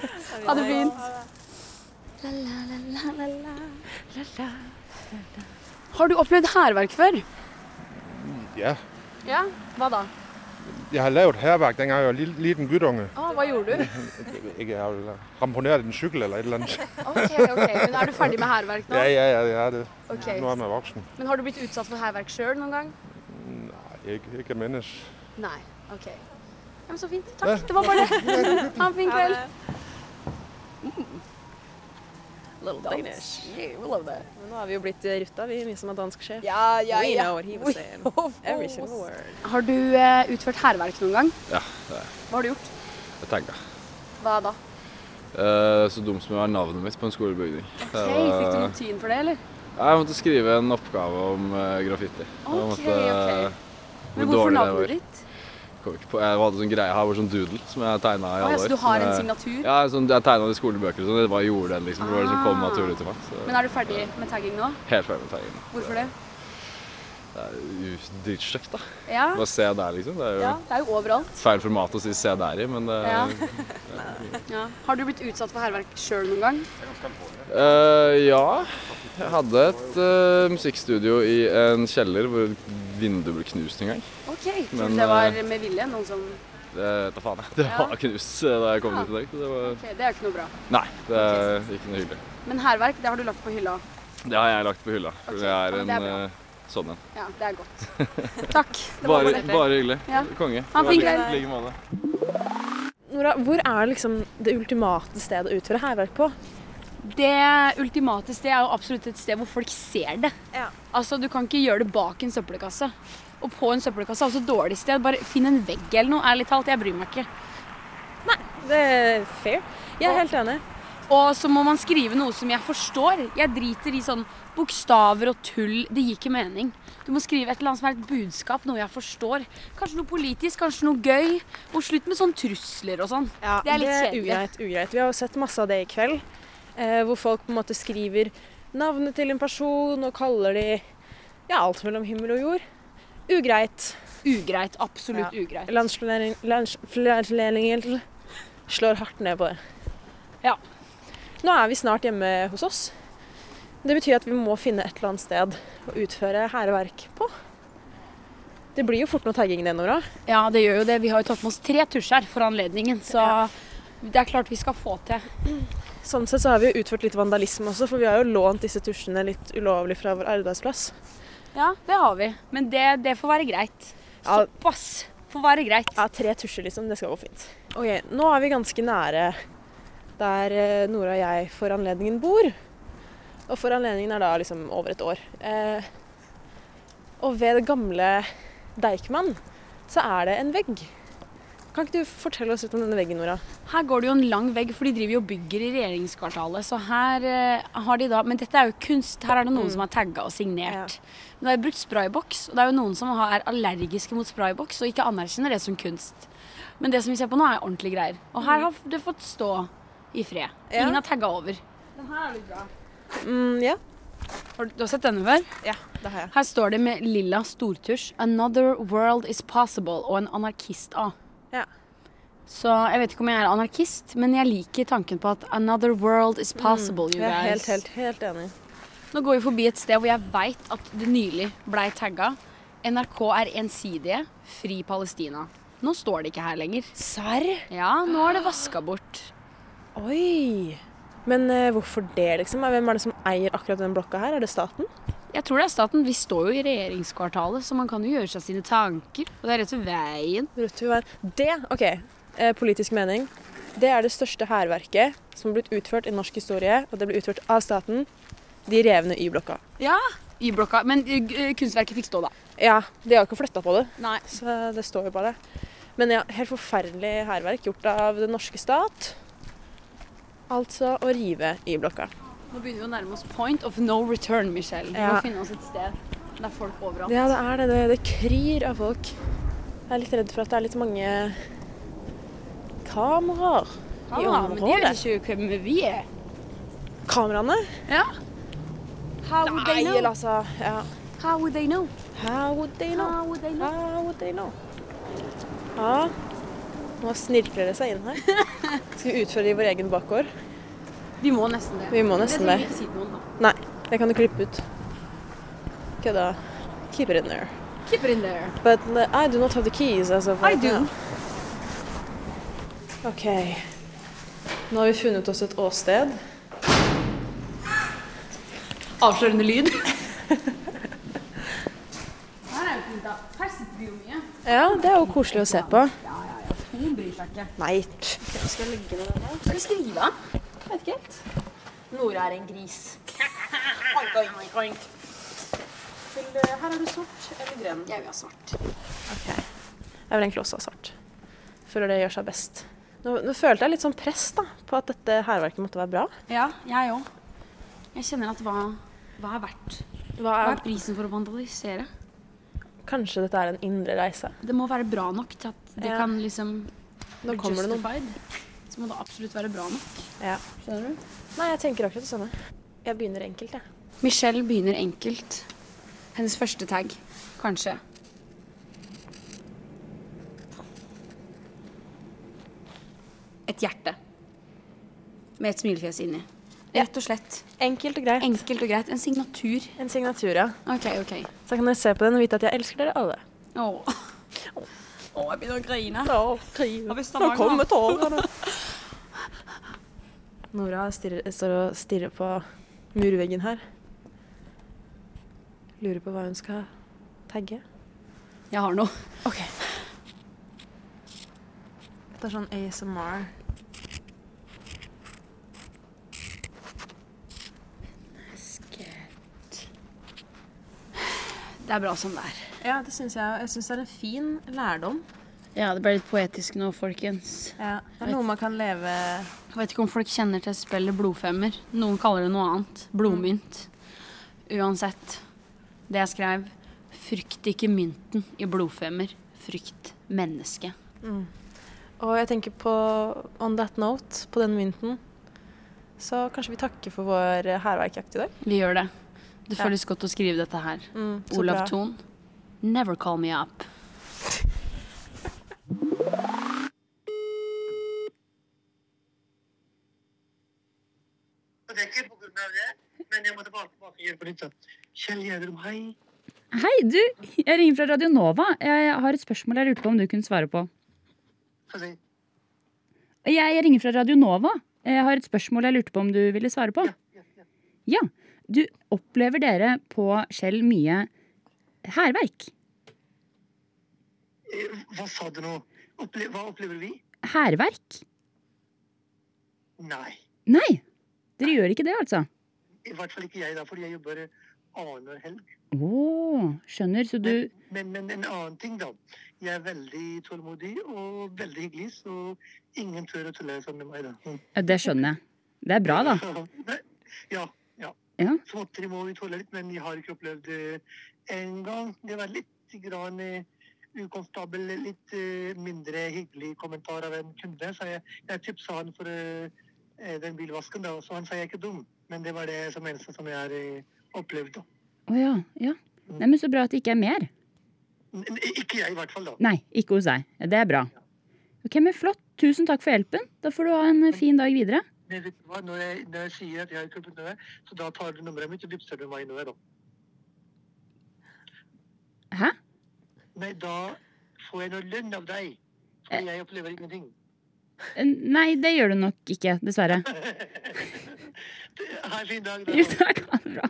[SPEAKER 4] Ha det fint. Har du opplevd hærverk før?
[SPEAKER 7] Ja,
[SPEAKER 4] Ja. Hva da?
[SPEAKER 7] jeg har lavet herværk, dengang jeg var lille, liten guttunge.
[SPEAKER 4] Å, hva gjorde du?
[SPEAKER 7] Ikke, jeg har ramponeret en cykel eller et eller <laughs> andet.
[SPEAKER 4] Ok, ok. Men Er du ferdig med hærverk nå?
[SPEAKER 7] Ja, ja, ja, det er det.
[SPEAKER 4] Ok.
[SPEAKER 7] Nu er man voksen.
[SPEAKER 4] Men har du blitt utsatt for hærverk sjøl noen gang?
[SPEAKER 7] Ikke, ikke mindes.
[SPEAKER 3] Nei. OK. Ja, men så fint. Takk. Det var bare det. Ha en fin kveld.
[SPEAKER 1] Little Danish.
[SPEAKER 3] Yeah, we love that.
[SPEAKER 1] Men nå har vi jo blitt eh, rutta, vi, vi som er dansk sjef.
[SPEAKER 3] Ja, ja,
[SPEAKER 1] We
[SPEAKER 3] ja.
[SPEAKER 1] know what he was saying. Every single word.
[SPEAKER 3] Har du eh, utført hærverk noen gang?
[SPEAKER 8] Ja, det er
[SPEAKER 3] Hva har du gjort?
[SPEAKER 8] jeg tagga.
[SPEAKER 3] Hva da?
[SPEAKER 8] Eh, så dumt som det var navnet mitt på en skolebygning. Det
[SPEAKER 3] Hei, fikk du
[SPEAKER 8] var-
[SPEAKER 3] noe tyn for det, eller?
[SPEAKER 8] Ja, Jeg måtte skrive en oppgave om eh, graffiti. Jeg
[SPEAKER 3] Ok,
[SPEAKER 8] måtte, eh,
[SPEAKER 3] ok.
[SPEAKER 8] hvor
[SPEAKER 3] Men hvorfor
[SPEAKER 8] dårlig det var.
[SPEAKER 3] navnet ditt?
[SPEAKER 8] Kom ikke på. Jeg hadde sånn greie her, var sånn doodle som jeg tegna i
[SPEAKER 3] Å,
[SPEAKER 8] alle
[SPEAKER 3] ja,
[SPEAKER 8] år.
[SPEAKER 3] så du har
[SPEAKER 8] som
[SPEAKER 3] en
[SPEAKER 8] jeg-
[SPEAKER 3] signatur?
[SPEAKER 8] Ja, sånn, jeg tegna det i skolebøker og sånn. Jeg bare gjorde den, liksom. for Det var det som kom
[SPEAKER 3] Ah.
[SPEAKER 8] naturlig til meg. Så
[SPEAKER 3] Men er du ferdig med tagging nå?
[SPEAKER 8] helt ferdig med tegningen.
[SPEAKER 3] Hvorfor det?
[SPEAKER 8] Det er u- dritstygt, da.
[SPEAKER 3] Ja,
[SPEAKER 8] Bare se der, liksom. Det er jo
[SPEAKER 3] ja det er jo overalt.
[SPEAKER 8] feil format å si se der i, men eh, det
[SPEAKER 3] Ja. Ja. Har du blitt utsatt for hærverk sjøl noen gang?
[SPEAKER 8] Eh, ja. Jeg hadde et eh, musikkstudio i en kjeller hvor et vindu ble knust en gang.
[SPEAKER 3] OK. Tror
[SPEAKER 8] Men,
[SPEAKER 3] du det var
[SPEAKER 8] eh,
[SPEAKER 3] med vilje? Noen som
[SPEAKER 8] Det vet jeg faen <laughs> jeg. Det var knust eh, da jeg kom dit i dag. Så det var
[SPEAKER 3] OK, det er jo ikke noe bra.
[SPEAKER 8] Nei, det er ikke noe hyggelig.
[SPEAKER 3] Men hærverk, det har du lagt på hylla.
[SPEAKER 8] Det har jeg lagt på hylla. For
[SPEAKER 3] Ok,
[SPEAKER 8] det
[SPEAKER 3] ja,
[SPEAKER 8] er
[SPEAKER 3] men
[SPEAKER 8] en
[SPEAKER 3] det er bra.
[SPEAKER 8] eh, sånn en.
[SPEAKER 3] Ja, det er
[SPEAKER 8] <laughs>
[SPEAKER 3] godt. Takk.
[SPEAKER 8] Bare, bare hyggelig.
[SPEAKER 3] Ja.
[SPEAKER 8] Konge.
[SPEAKER 3] Ha en fin
[SPEAKER 8] Det
[SPEAKER 3] kveld.
[SPEAKER 8] var i like måte.
[SPEAKER 1] Nora, hvor er liksom det ultimate stedet å utføre hærverk på?
[SPEAKER 3] Det ultimate sted er jo absolutt et sted hvor folk ser det.
[SPEAKER 1] Ja.
[SPEAKER 3] Altså, Du kan ikke gjøre det bak en søppelkasse. Og på en søppelkasse er også et dårlig sted. Bare finn en vegg eller noe. Ærlig talt, jeg bryr meg ikke.
[SPEAKER 1] Det er fair. Jeg er helt enig.
[SPEAKER 3] Og så må man skrive noe som jeg forstår. Jeg driter i sånn bokstaver og tull. Det gir ikke mening. Du må skrive et eller annet som er et budskap, noe jeg forstår. Kanskje noe politisk, kanskje noe gøy. Og slutt med sånn trusler og sånn.
[SPEAKER 1] Ja,
[SPEAKER 3] Det er litt kjedelig.
[SPEAKER 1] ugreit, ugreit. Vi har jo sett masse av det i kveld, eh, hvor folk på en måte skriver navnet til en person og kaller de ja, alt mellom himmel og jord. Ugreit.
[SPEAKER 3] Ugreit. Absolutt ugreit.
[SPEAKER 1] Landsforlening- Landsforleningen slår hardt ned på det.
[SPEAKER 3] Ja.
[SPEAKER 1] Nå er vi snart hjemme hos oss. Det betyr at vi må finne et eller annet sted å utføre hærverk på. Det blir jo fort noe tagging det, Nora.
[SPEAKER 3] Ja, det gjør jo det. Vi har jo tatt med oss tre tusjer for anledningen, så det er klart vi skal få til.
[SPEAKER 1] Sånn sett så har vi jo utført litt vandalisme også, for vi har jo lånt disse tusjene litt ulovlig fra vår arbeidsplass.
[SPEAKER 3] Ja, det har vi. Men det, det får være greit.
[SPEAKER 1] Ja.
[SPEAKER 3] Såpass får være greit.
[SPEAKER 1] Ja, tre tusjer liksom, det skal gå fint. Ok, nå er vi ganske nære der eh, Nora og jeg for anledningen bor. Og for anledningen er da liksom over et år. Eh, og ved det gamle Deichman så er det en vegg. Kan ikke du fortelle oss litt om denne veggen, Nora?
[SPEAKER 3] Her går det jo en lang vegg, for de driver jo og bygger i regjeringskvartalet. Så her eh, har de da Men dette er jo kunst. Her er det noen som har tagga og signert. Men det er jo brukt sprayboks, og det er jo noen som har- er allergiske mot sprayboks og ikke anerkjenner det som kunst. Men det som vi ser på nå, er ordentlige greier. Og her har det fått stå i fred.
[SPEAKER 1] Ja.
[SPEAKER 3] Ingen har tagga over.
[SPEAKER 1] Mm, ja,
[SPEAKER 3] Har du, du har sett denne før?
[SPEAKER 1] det har jeg.
[SPEAKER 3] Her står det med lilla stortusj 'Another world is possible' og en anarkist A.
[SPEAKER 1] Ja.
[SPEAKER 3] Så jeg vet ikke om jeg er anarkist, men jeg liker tanken på at 'another world is possible', you
[SPEAKER 1] Jeg er
[SPEAKER 3] guys.
[SPEAKER 1] Mm, helt, helt, helt enig.
[SPEAKER 3] Nå går vi forbi et sted hvor jeg veit at det nylig blei tagga 'NRK er ensidige. Fri Palestina'. Nå står det ikke her lenger.
[SPEAKER 1] Serr?
[SPEAKER 3] Ja, nå er det vaska bort.
[SPEAKER 1] Oi! Men eh, hvorfor det, liksom? Hvem er det som eier akkurat den blokka her? Er det staten?
[SPEAKER 3] Jeg tror det er staten. Vi står jo i regjeringskvartalet, så man kan jo gjøre seg sine tanker. Og det er rett ved veien.
[SPEAKER 1] Rødt vil være Det, OK, eh, politisk mening. Det er det største hærverket som har blitt utført i norsk historie, og det ble utført av staten. De rev ned Y-blokka.
[SPEAKER 3] Y-blokka. Men eh, kunstverket fikk stå, da.
[SPEAKER 1] Ja, de har jo ikke flytta på det,
[SPEAKER 3] Nei.
[SPEAKER 1] så det står jo bare. Men ja, helt forferdelig hærverk gjort av den norske stat. Altså å rive Y-blokka.
[SPEAKER 3] Nå begynner vi å nærme oss point of no return, Michelle. Vi
[SPEAKER 1] Ja.
[SPEAKER 3] må finne oss et sted. Det er folk overalt.
[SPEAKER 1] Ja, det er det. Det, det kryr av folk. Jeg er litt redd for at det er litt mange kameraer
[SPEAKER 3] Ja,
[SPEAKER 1] i
[SPEAKER 3] Ah, men de
[SPEAKER 1] området.
[SPEAKER 3] vet ikke hvem vi er.
[SPEAKER 1] Kameraene?
[SPEAKER 3] Ja. How would
[SPEAKER 1] Nei,
[SPEAKER 3] they
[SPEAKER 1] eller
[SPEAKER 3] know?
[SPEAKER 1] altså ja.
[SPEAKER 3] How would they know?
[SPEAKER 1] How would they know?
[SPEAKER 3] How would they know?
[SPEAKER 1] How would they know? Ja, nå snirkler det seg inn
[SPEAKER 3] <laughs>
[SPEAKER 1] her. Skal vi utføre det i vår egen bakgård?
[SPEAKER 3] Vi må nesten det.
[SPEAKER 1] Vi må nesten
[SPEAKER 3] det.
[SPEAKER 1] det.
[SPEAKER 3] trenger vi ikke si til noen, da.
[SPEAKER 1] Nei, det kan du klippe ut. Kødda. Keep it in there.
[SPEAKER 3] Keep it in there.
[SPEAKER 1] But uh, I do not have the keys. Altså, for
[SPEAKER 3] I do.
[SPEAKER 1] Ok. Nå har vi funnet oss et åsted. <laughs>
[SPEAKER 3] Avslørende lyd. Her er det fint, da. Her sitter vi
[SPEAKER 4] blir jo mye.
[SPEAKER 1] Ja, det er jo koselig å se på.
[SPEAKER 4] Hun bryr seg ikke.
[SPEAKER 1] Nei.
[SPEAKER 4] Skal jeg legge ned den her? Skal du skrive, da? Jeg vet ikke helt. Nora er en gris. <laughs> oink, oink, oink, oink.
[SPEAKER 1] eh,
[SPEAKER 4] her er du sort eller grønn. Jeg vil ha svart.
[SPEAKER 1] Jeg vil egentlig også ha svart. Føler det gjør seg best. Nå, nå følte jeg litt sånn press da, på at dette hærverket måtte være bra.
[SPEAKER 4] Ja, jeg òg. Jeg kjenner at hva, hva er verdt?
[SPEAKER 1] Hva
[SPEAKER 4] Hva
[SPEAKER 1] er,
[SPEAKER 4] er prisen for å vandalisere?
[SPEAKER 1] kanskje dette er en indre reise.
[SPEAKER 4] Det må være bra nok til at det
[SPEAKER 1] Ja.
[SPEAKER 4] kan liksom
[SPEAKER 1] Nå kommer det noen.
[SPEAKER 4] Så må det absolutt være bra nok.
[SPEAKER 1] Ja.
[SPEAKER 4] Skjønner du?
[SPEAKER 1] Nei, jeg tenker akkurat det samme. Jeg begynner enkelt, jeg.
[SPEAKER 4] Michelle begynner enkelt. Hennes første tag, kanskje. Et hjerte. Med et smilefjes inni. Rett og slett.
[SPEAKER 1] Enkelt og greit.
[SPEAKER 4] Enkelt og greit. En signatur.
[SPEAKER 1] En signatur, ja.
[SPEAKER 4] OK, OK.
[SPEAKER 1] Så kan dere se på den og vite at jeg elsker dere alle.
[SPEAKER 4] Å, Å, jeg begynner å grine.
[SPEAKER 1] Nå kommer tårene. Nora stirrer, står og stirrer på murveggen her. Lurer på hva hun skal tagge.
[SPEAKER 4] Jeg har noe.
[SPEAKER 1] Det er sånn ASMR.
[SPEAKER 4] Det er bra som det er.
[SPEAKER 1] Ja, det syns jeg. Jeg syns det er en fin lærdom.
[SPEAKER 2] Ja, det ble litt poetisk nå, folkens.
[SPEAKER 1] det er noe man kan leve
[SPEAKER 4] Jeg vet ikke om folk kjenner til spillet blodfemmer. Noen kaller det noe annet. Blodmynt. Uansett. Det jeg skrev Frykt ikke mynten i blodfemmer. Frykt mennesket.
[SPEAKER 1] Og jeg tenker på on that note, på den mynten, så kanskje vi takker for vår hærverkjakt i dag.
[SPEAKER 4] Vi gjør det. Det
[SPEAKER 1] Ja.
[SPEAKER 4] føles godt å skrive dette her.
[SPEAKER 1] Mm, så
[SPEAKER 4] Olav
[SPEAKER 1] bra.
[SPEAKER 4] Thon. Never call me up.
[SPEAKER 8] Det er ikke på grunn av det, men jeg må tilbake, tilbake og hjelpe litt. Kjell Gjerdrum, hei.
[SPEAKER 2] Hei, du! Jeg ringer fra Radio Nova. Jeg har et spørsmål jeg lurte på om du kunne svare på.
[SPEAKER 8] Få si.
[SPEAKER 2] Jeg, jeg ringer fra Radio Nova. Jeg har et spørsmål jeg lurte på om du ville svare på. Ja. Du, opplever dere på Skjell mye hærverk?
[SPEAKER 8] Eh, Hva sa du nå? Opple hva opplever vi?
[SPEAKER 2] Hærverk?
[SPEAKER 8] Nei.
[SPEAKER 2] Nei, dere gjør ikke det, altså.
[SPEAKER 8] I hvert fall ikke jeg, da, fordi jeg jobber annenhver helg.
[SPEAKER 2] Å, skjønner. Så du
[SPEAKER 8] Men, men en annen ting, da. Jeg er veldig tålmodig og veldig hyggelig, så ingen tør å tulle sånn med meg, da. Mm.
[SPEAKER 2] ja, Det skjønner jeg. Det er bra, da.
[SPEAKER 8] Nei, Ja, ja.
[SPEAKER 2] Ja.
[SPEAKER 8] Småtteri må vi tåle litt, men jeg har ikke opplevd det en gang. Det var litt grann eh, ukomfortabel, litt eh, mindre hyggelig kommentar av en kunde. Så jeg, jeg tipsa han for eh, eh, den bilvasken, da, så han sa jeg er ikke dum. Men det var det som eneste som jeg har eh, opplevd. da.
[SPEAKER 2] Å ja. ja. Nei, men Så bra at det ikke er mer.
[SPEAKER 8] N- n- Ikke jeg, i hvert fall. da.
[SPEAKER 2] Nei, ikke hos deg. Det er bra. Ok, men Flott. Tusen takk for hjelpen. Da får du ha en fin dag videre.
[SPEAKER 8] Men vet du hva? Når jeg, når jeg sier at jeg er entreprenør, så da tar du nummeret mitt og vippser du meg nå. da.
[SPEAKER 2] Hæ?
[SPEAKER 8] Nei, da får jeg noe lønn av deg. For jeg opplever ingenting.
[SPEAKER 2] Nei, det gjør du nok ikke, dessverre.
[SPEAKER 9] <laughs>
[SPEAKER 8] Ha en fin dag.
[SPEAKER 2] Jo,
[SPEAKER 8] da.
[SPEAKER 2] takk. Ha det
[SPEAKER 9] <laughs>
[SPEAKER 2] bra.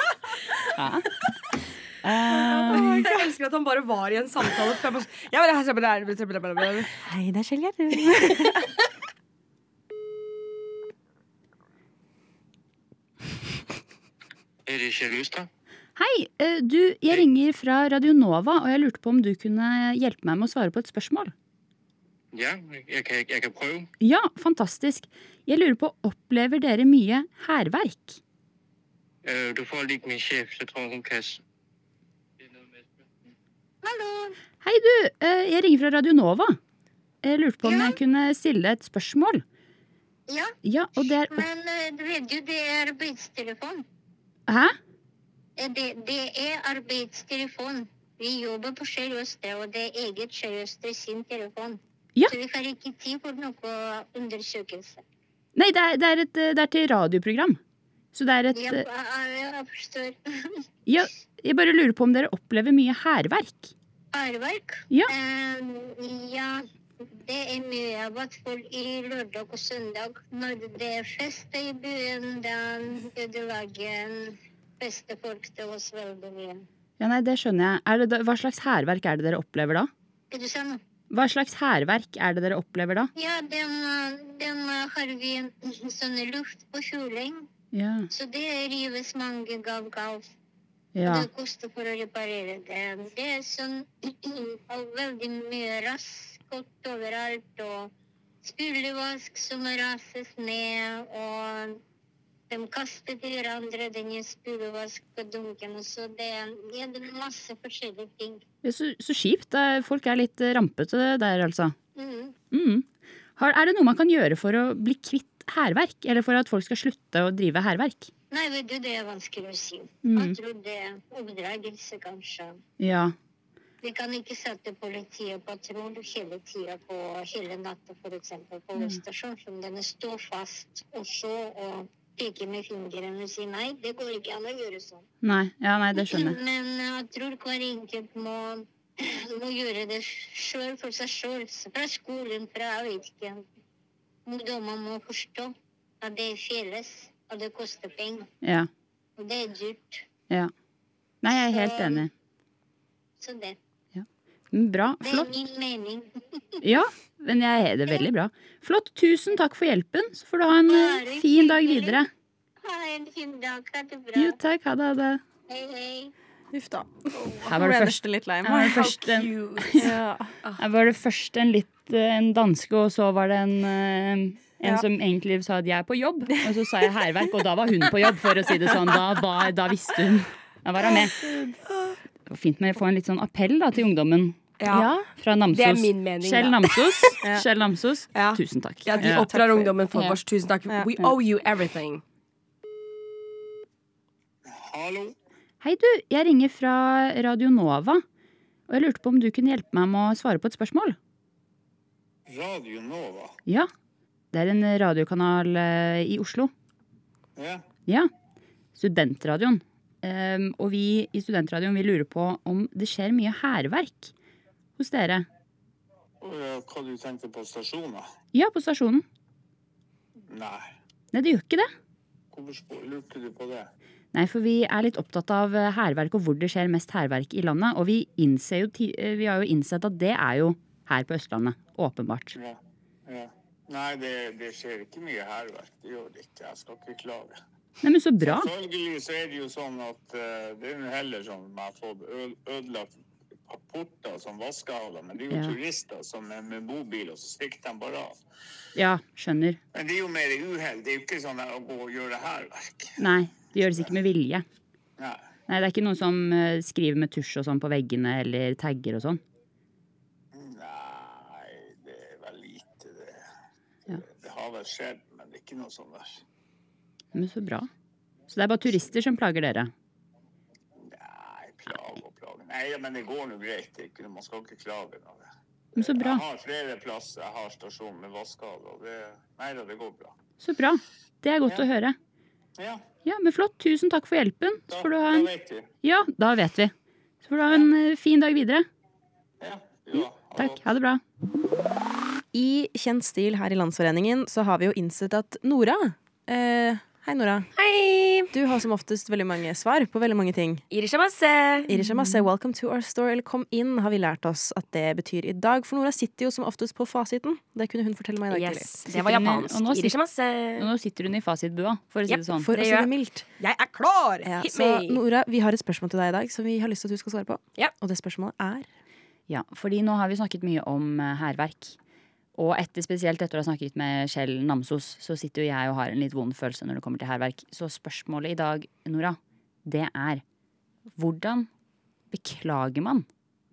[SPEAKER 9] Eh,
[SPEAKER 2] Ja.
[SPEAKER 3] Åh, Jeg elsker at han bare var i en samtale. for Jeg bare, jeg bare, jeg bare, jeg bare, jeg bare, jeg bare.
[SPEAKER 10] Hei, det er Kjell Gjerdrum.
[SPEAKER 1] <laughs>
[SPEAKER 8] Er det Kjell Hustad?
[SPEAKER 2] Hei, eh, du, jeg ringer fra Radionova, og jeg lurte på om du kunne hjelpe meg med å svare på et spørsmål.
[SPEAKER 8] Ja, jeg kan, jeg kan prøve.
[SPEAKER 2] Ja, fantastisk. Jeg lurer på, opplever dere mye hærverk?
[SPEAKER 8] Øh, Du får ligge min sjef, så tror jeg hun kan s-
[SPEAKER 2] Hei, du, eh, jeg ringer fra Radionova. Jeg lurte på om jeg kunne stille deg et spørsmål.
[SPEAKER 9] Ja.
[SPEAKER 2] Ja, og det er
[SPEAKER 9] Men eh, du vet jo, det er arbeidstelefon.
[SPEAKER 2] Hæ?
[SPEAKER 9] Eh, Det, det er arbeidstelefon. Vi jobber på Skjell Østre, og det er eget Skjell Østre sin telefon.
[SPEAKER 2] Ja.
[SPEAKER 9] Så vi har ikke tid for noe undersøkelse.
[SPEAKER 2] Nei, det er, det er, et, eh, det er til radioprogram. Så det er et
[SPEAKER 9] Ja,
[SPEAKER 2] eh,
[SPEAKER 9] jeg, jeg forstår. <laughs>
[SPEAKER 2] Ja, jeg bare lurer på om dere opplever mye hærverk?
[SPEAKER 9] Arverk?
[SPEAKER 2] Ja.
[SPEAKER 9] Eh, ja, det er mye av at folk i lørdag og søndag, når det er fest i byen, da ødelegger festefolk til oss veldig mye.
[SPEAKER 2] Ja, nei, det skjønner jeg. Er det, da- hva slags hærverk er det dere opplever da?
[SPEAKER 9] Er du sann?
[SPEAKER 2] Hva slags hærverk er det dere opplever da?
[SPEAKER 9] Ja, den, eh, den eh, har vi en sånn luft på kjoling.
[SPEAKER 2] Ja.
[SPEAKER 9] Så det rives mange gav-gav.
[SPEAKER 2] ja.
[SPEAKER 9] Det koster for å reparere det. Det er sånn <clears throat> og veldig mye rask godt overalt. Og spylevask som rases ned. Og de kaster til hverandre denne spylevask på dunken. og Så det, det er masse forskjellige ting.
[SPEAKER 2] Ja, Så, så kjipt. Det er- Folk er litt eh, rampete der, altså.
[SPEAKER 9] Mhm.
[SPEAKER 2] Mm. Har, er det noe man kan gjøre for å bli kvitt hærverk? Eller for at folk skal slutte å drive hærverk?
[SPEAKER 9] Nei, vet du, det er vanskelig å si.
[SPEAKER 2] Mhm.
[SPEAKER 9] Jeg tror det er oppdragelse, kanskje.
[SPEAKER 2] Ja.
[SPEAKER 9] Vi kan ikke sette politiet på patrulje hele tida på hele natta, f.eks. på
[SPEAKER 2] Ja.
[SPEAKER 9] Vestasjon. Som denne står fast og så og peker med fingrene og sier nei, det går ikke an å gjøre sånn.
[SPEAKER 2] Nei, ja, nei det skjønner jeg.
[SPEAKER 9] Men eh, jeg tror hver enkelt må, må gjøre det sjøl for seg sjøl. Fra skolen, fra jeg vet ikke. Ungdommer må forstå at det er felles, og det koster penger.
[SPEAKER 2] Ja.
[SPEAKER 9] Og det er dyrt.
[SPEAKER 2] ja. Nei, jeg er helt
[SPEAKER 9] Så-
[SPEAKER 2] enig.
[SPEAKER 9] Så det.
[SPEAKER 2] Mm, Bra.
[SPEAKER 9] Det er
[SPEAKER 2] Flott.
[SPEAKER 9] min mening.
[SPEAKER 2] Ja, men jeg er det er veldig bra. Flott. Tusen takk for hjelpen. Så får du ha en eh, fin dag videre.
[SPEAKER 9] Ha en fin dag. Ha det bra.
[SPEAKER 2] Jo, takk. Ha det. Ha det.
[SPEAKER 9] Hei, hei.
[SPEAKER 1] Huff da.
[SPEAKER 2] Her var det
[SPEAKER 1] Ble
[SPEAKER 2] først-
[SPEAKER 1] nesten litt lei
[SPEAKER 2] her var det
[SPEAKER 1] meg. How
[SPEAKER 2] først en- <laughs>
[SPEAKER 1] cute. Ja.
[SPEAKER 2] Her var det først en litt eh, en danske, og så var det en, eh, en
[SPEAKER 1] Ja.
[SPEAKER 2] som egentlig sa at jeg er på jobb. Og så sa jeg hærverk, og da var hun på jobb, for å si det sånn. Da, var, da visste hun. Da var hun med. Det var fint med å få en litt sånn appell da, til ungdommen.
[SPEAKER 3] Ja.
[SPEAKER 2] Fra Namsos.
[SPEAKER 3] Det er min mening, da.
[SPEAKER 2] Kjell <laughs> Namsos. Kjell Namsos.
[SPEAKER 3] Ja.
[SPEAKER 2] Tusen takk.
[SPEAKER 3] Ja, de
[SPEAKER 2] Ja.
[SPEAKER 3] oppdrar ungdommen for
[SPEAKER 2] Ja.
[SPEAKER 3] oss. Tusen takk.
[SPEAKER 2] Ja.
[SPEAKER 3] We owe you everything.
[SPEAKER 6] Hallo.
[SPEAKER 2] Hei du, jeg ringer fra Radio Nova. Og jeg lurte på om du kunne hjelpe meg med å svare på et spørsmål?
[SPEAKER 8] Radio Nova.
[SPEAKER 2] Ja. Det er en radiokanal eh, i Oslo.
[SPEAKER 8] Ja.
[SPEAKER 2] Ja. Studentradioen. Ehm, og vi i Studentradioen vi lurer på om det skjer mye hærverk hos dere.
[SPEAKER 8] Og ja, hva du tenkte på stasjoner?
[SPEAKER 2] Ja, på stasjonen.
[SPEAKER 8] Nei.
[SPEAKER 2] Nei, det gjør ikke det.
[SPEAKER 8] Hvorfor spør- lurte du på det?
[SPEAKER 2] Nei, for vi er litt opptatt av eh, hærverk og hvor det skjer mest hærverk i landet. Og vi, innser jo, ti- eh, vi har jo innsett at det er jo her på Østlandet. Åpenbart.
[SPEAKER 8] Ja. ja. Nei, det, det skjer ikke mye hærverk. Det gjør det ikke. Jeg skal ikke klage.
[SPEAKER 2] Nei, men så bra.
[SPEAKER 8] Selvfølgelig så er det jo sånn at eh, det er jo heller sånn at man har fått ø- ødelagt rapporter som vaskehaler, men det er jo
[SPEAKER 2] Ja.
[SPEAKER 8] turister som er med bobil, og så stikker de bare av.
[SPEAKER 2] Ja, skjønner.
[SPEAKER 8] Men det er jo mer uhell. Det er jo ikke sånn å gå og gjøre hærverk.
[SPEAKER 2] Nei, det gjøres ikke med vilje.
[SPEAKER 8] Nei.
[SPEAKER 2] Nei, det er ikke noen som eh, skriver med tusj og sånn på veggene eller tagger og sånn.
[SPEAKER 8] Nei, det er vel lite, det.
[SPEAKER 2] Ja.
[SPEAKER 8] Det har vel skjedd, men det er ikke noe sånn der.
[SPEAKER 2] Men så bra. Så det er bare turister som plager dere?
[SPEAKER 8] Nei, plage og plage. Nei, ja, men det går nå greit. Det er ikke, noe- man skal ikke klage. nå.
[SPEAKER 2] Men så bra.
[SPEAKER 8] Jeg har flere plasser. Jeg har stasjon med vaskehall, og det Nei da, det går bra.
[SPEAKER 2] Så bra. Det er godt
[SPEAKER 8] Ja.
[SPEAKER 2] å høre.
[SPEAKER 8] Ja,
[SPEAKER 2] Ja, men flott. Tusen takk for hjelpen. Så
[SPEAKER 8] da,
[SPEAKER 2] får du ha
[SPEAKER 8] da
[SPEAKER 2] en
[SPEAKER 8] vet vi.
[SPEAKER 2] Ja, da vet vi. Så får du ha en eh, fin dag videre.
[SPEAKER 8] Ja,
[SPEAKER 2] Takk. Ha det bra.
[SPEAKER 1] I kjent stil her i Landsforeningen så har vi jo innsett at Nora eh, Hei, Nora. Hei! Du har som oftest veldig mange svar på veldig mange ting.
[SPEAKER 3] Irisha Masse.
[SPEAKER 1] Irisha Masse, welcome to our store, eller kom inn, har vi lært oss at det betyr i dag. For Nora sitter jo som oftest på fasiten. Det kunne hun fortelle meg i dag
[SPEAKER 3] Yes,
[SPEAKER 1] tidlig.
[SPEAKER 3] det var japansk.
[SPEAKER 2] Og nå sitter-
[SPEAKER 3] Irisha Masse.
[SPEAKER 2] Og nå sitter hun i fasitbua, for å si
[SPEAKER 1] Jepp,
[SPEAKER 2] det sånn.
[SPEAKER 1] for å si det mildt.
[SPEAKER 3] Jeg er klar!
[SPEAKER 1] Ja,
[SPEAKER 3] Hit
[SPEAKER 1] så
[SPEAKER 3] me!
[SPEAKER 1] Nora, vi har et spørsmål til deg i dag som vi har lyst til at du skal svare på. Og det spørsmålet er
[SPEAKER 2] Ja, fordi nå har vi snakket mye om eh, hærverk. Og etter, spesielt etter å ha snakket med Kjell Namsos, så sitter jo jeg og har en litt vond følelse når det kommer til hærverk. Så spørsmålet i dag, Nora, det er hvordan beklager man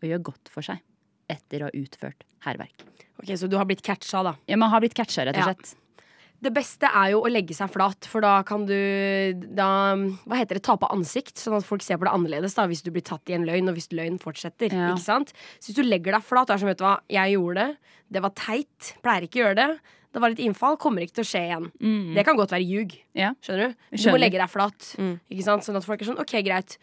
[SPEAKER 2] og gjør godt for seg etter å ha utført hærverk?
[SPEAKER 3] Ok, Så du har blitt catcha, da.
[SPEAKER 2] Ja, man har blitt catcha, rett og
[SPEAKER 3] Ja.
[SPEAKER 2] slett.
[SPEAKER 3] Det beste er jo å legge seg flat, for da kan du da, Hva heter det? Tape ansikt, sånn at folk ser på det annerledes da, hvis du blir tatt i en løgn, og hvis løgnen fortsetter.
[SPEAKER 2] Ja.
[SPEAKER 3] Ikke sant? Så hvis du legger deg flat og er sånn, vet du hva, jeg gjorde det, det var teit, pleier ikke å gjøre det, det var litt innfall, kommer ikke til å skje igjen.
[SPEAKER 2] Mm.
[SPEAKER 3] Det kan godt være ljug.
[SPEAKER 2] Ja.
[SPEAKER 3] Skjønner du? Du
[SPEAKER 2] Skjønner. Mm.
[SPEAKER 3] må legge deg flat. Ikke sant? Sånn at folk er sånn OK, greit.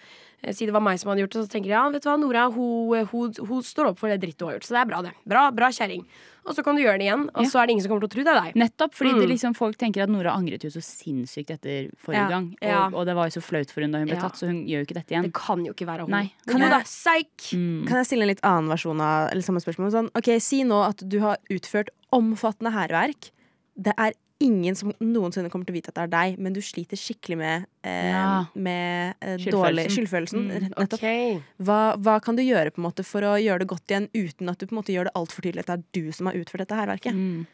[SPEAKER 3] eh, si det var meg som hadde gjort det, så tenker jeg ja, vet du hva, Nora hun, eh, hun, hun står opp for det drittet hun har gjort. Så det er bra, det. Bra, bra kjerring. Og så kan du gjøre det igjen, og
[SPEAKER 2] Ja.
[SPEAKER 3] så er det ingen som kommer til å tro det er deg.
[SPEAKER 2] Nettopp fordi
[SPEAKER 3] Mm.
[SPEAKER 2] det liksom, folk tenker at Nora angret jo så sinnssykt etter forrige
[SPEAKER 3] Ja.
[SPEAKER 2] gang. Og,
[SPEAKER 3] Ja.
[SPEAKER 2] og det var jo så flaut for hun da hun ble
[SPEAKER 1] Ja.
[SPEAKER 2] tatt, så hun gjør jo ikke dette igjen. Det
[SPEAKER 3] kan jo ikke være
[SPEAKER 2] Nei.
[SPEAKER 1] Kan jeg,
[SPEAKER 3] Psyk!
[SPEAKER 2] Mm.
[SPEAKER 1] kan jeg stille en litt annen versjon av eller samme spørsmål? Sånn, ok, Si nå at du har utført omfattende hærverk. Det er ingen som noensinne kommer til å vite at det er deg, men du sliter skikkelig med, eh,
[SPEAKER 2] Ja.
[SPEAKER 1] med eh,
[SPEAKER 2] Skyldfølelsen.
[SPEAKER 1] dårlig skyldfølelsen.
[SPEAKER 2] Mm.
[SPEAKER 1] rett- Nettopp. Hva, hva kan du gjøre på en måte for å gjøre det godt igjen, uten at du på en måte gjør det altfor tydelig at det er du som har utført dette hærverket?
[SPEAKER 2] Mm.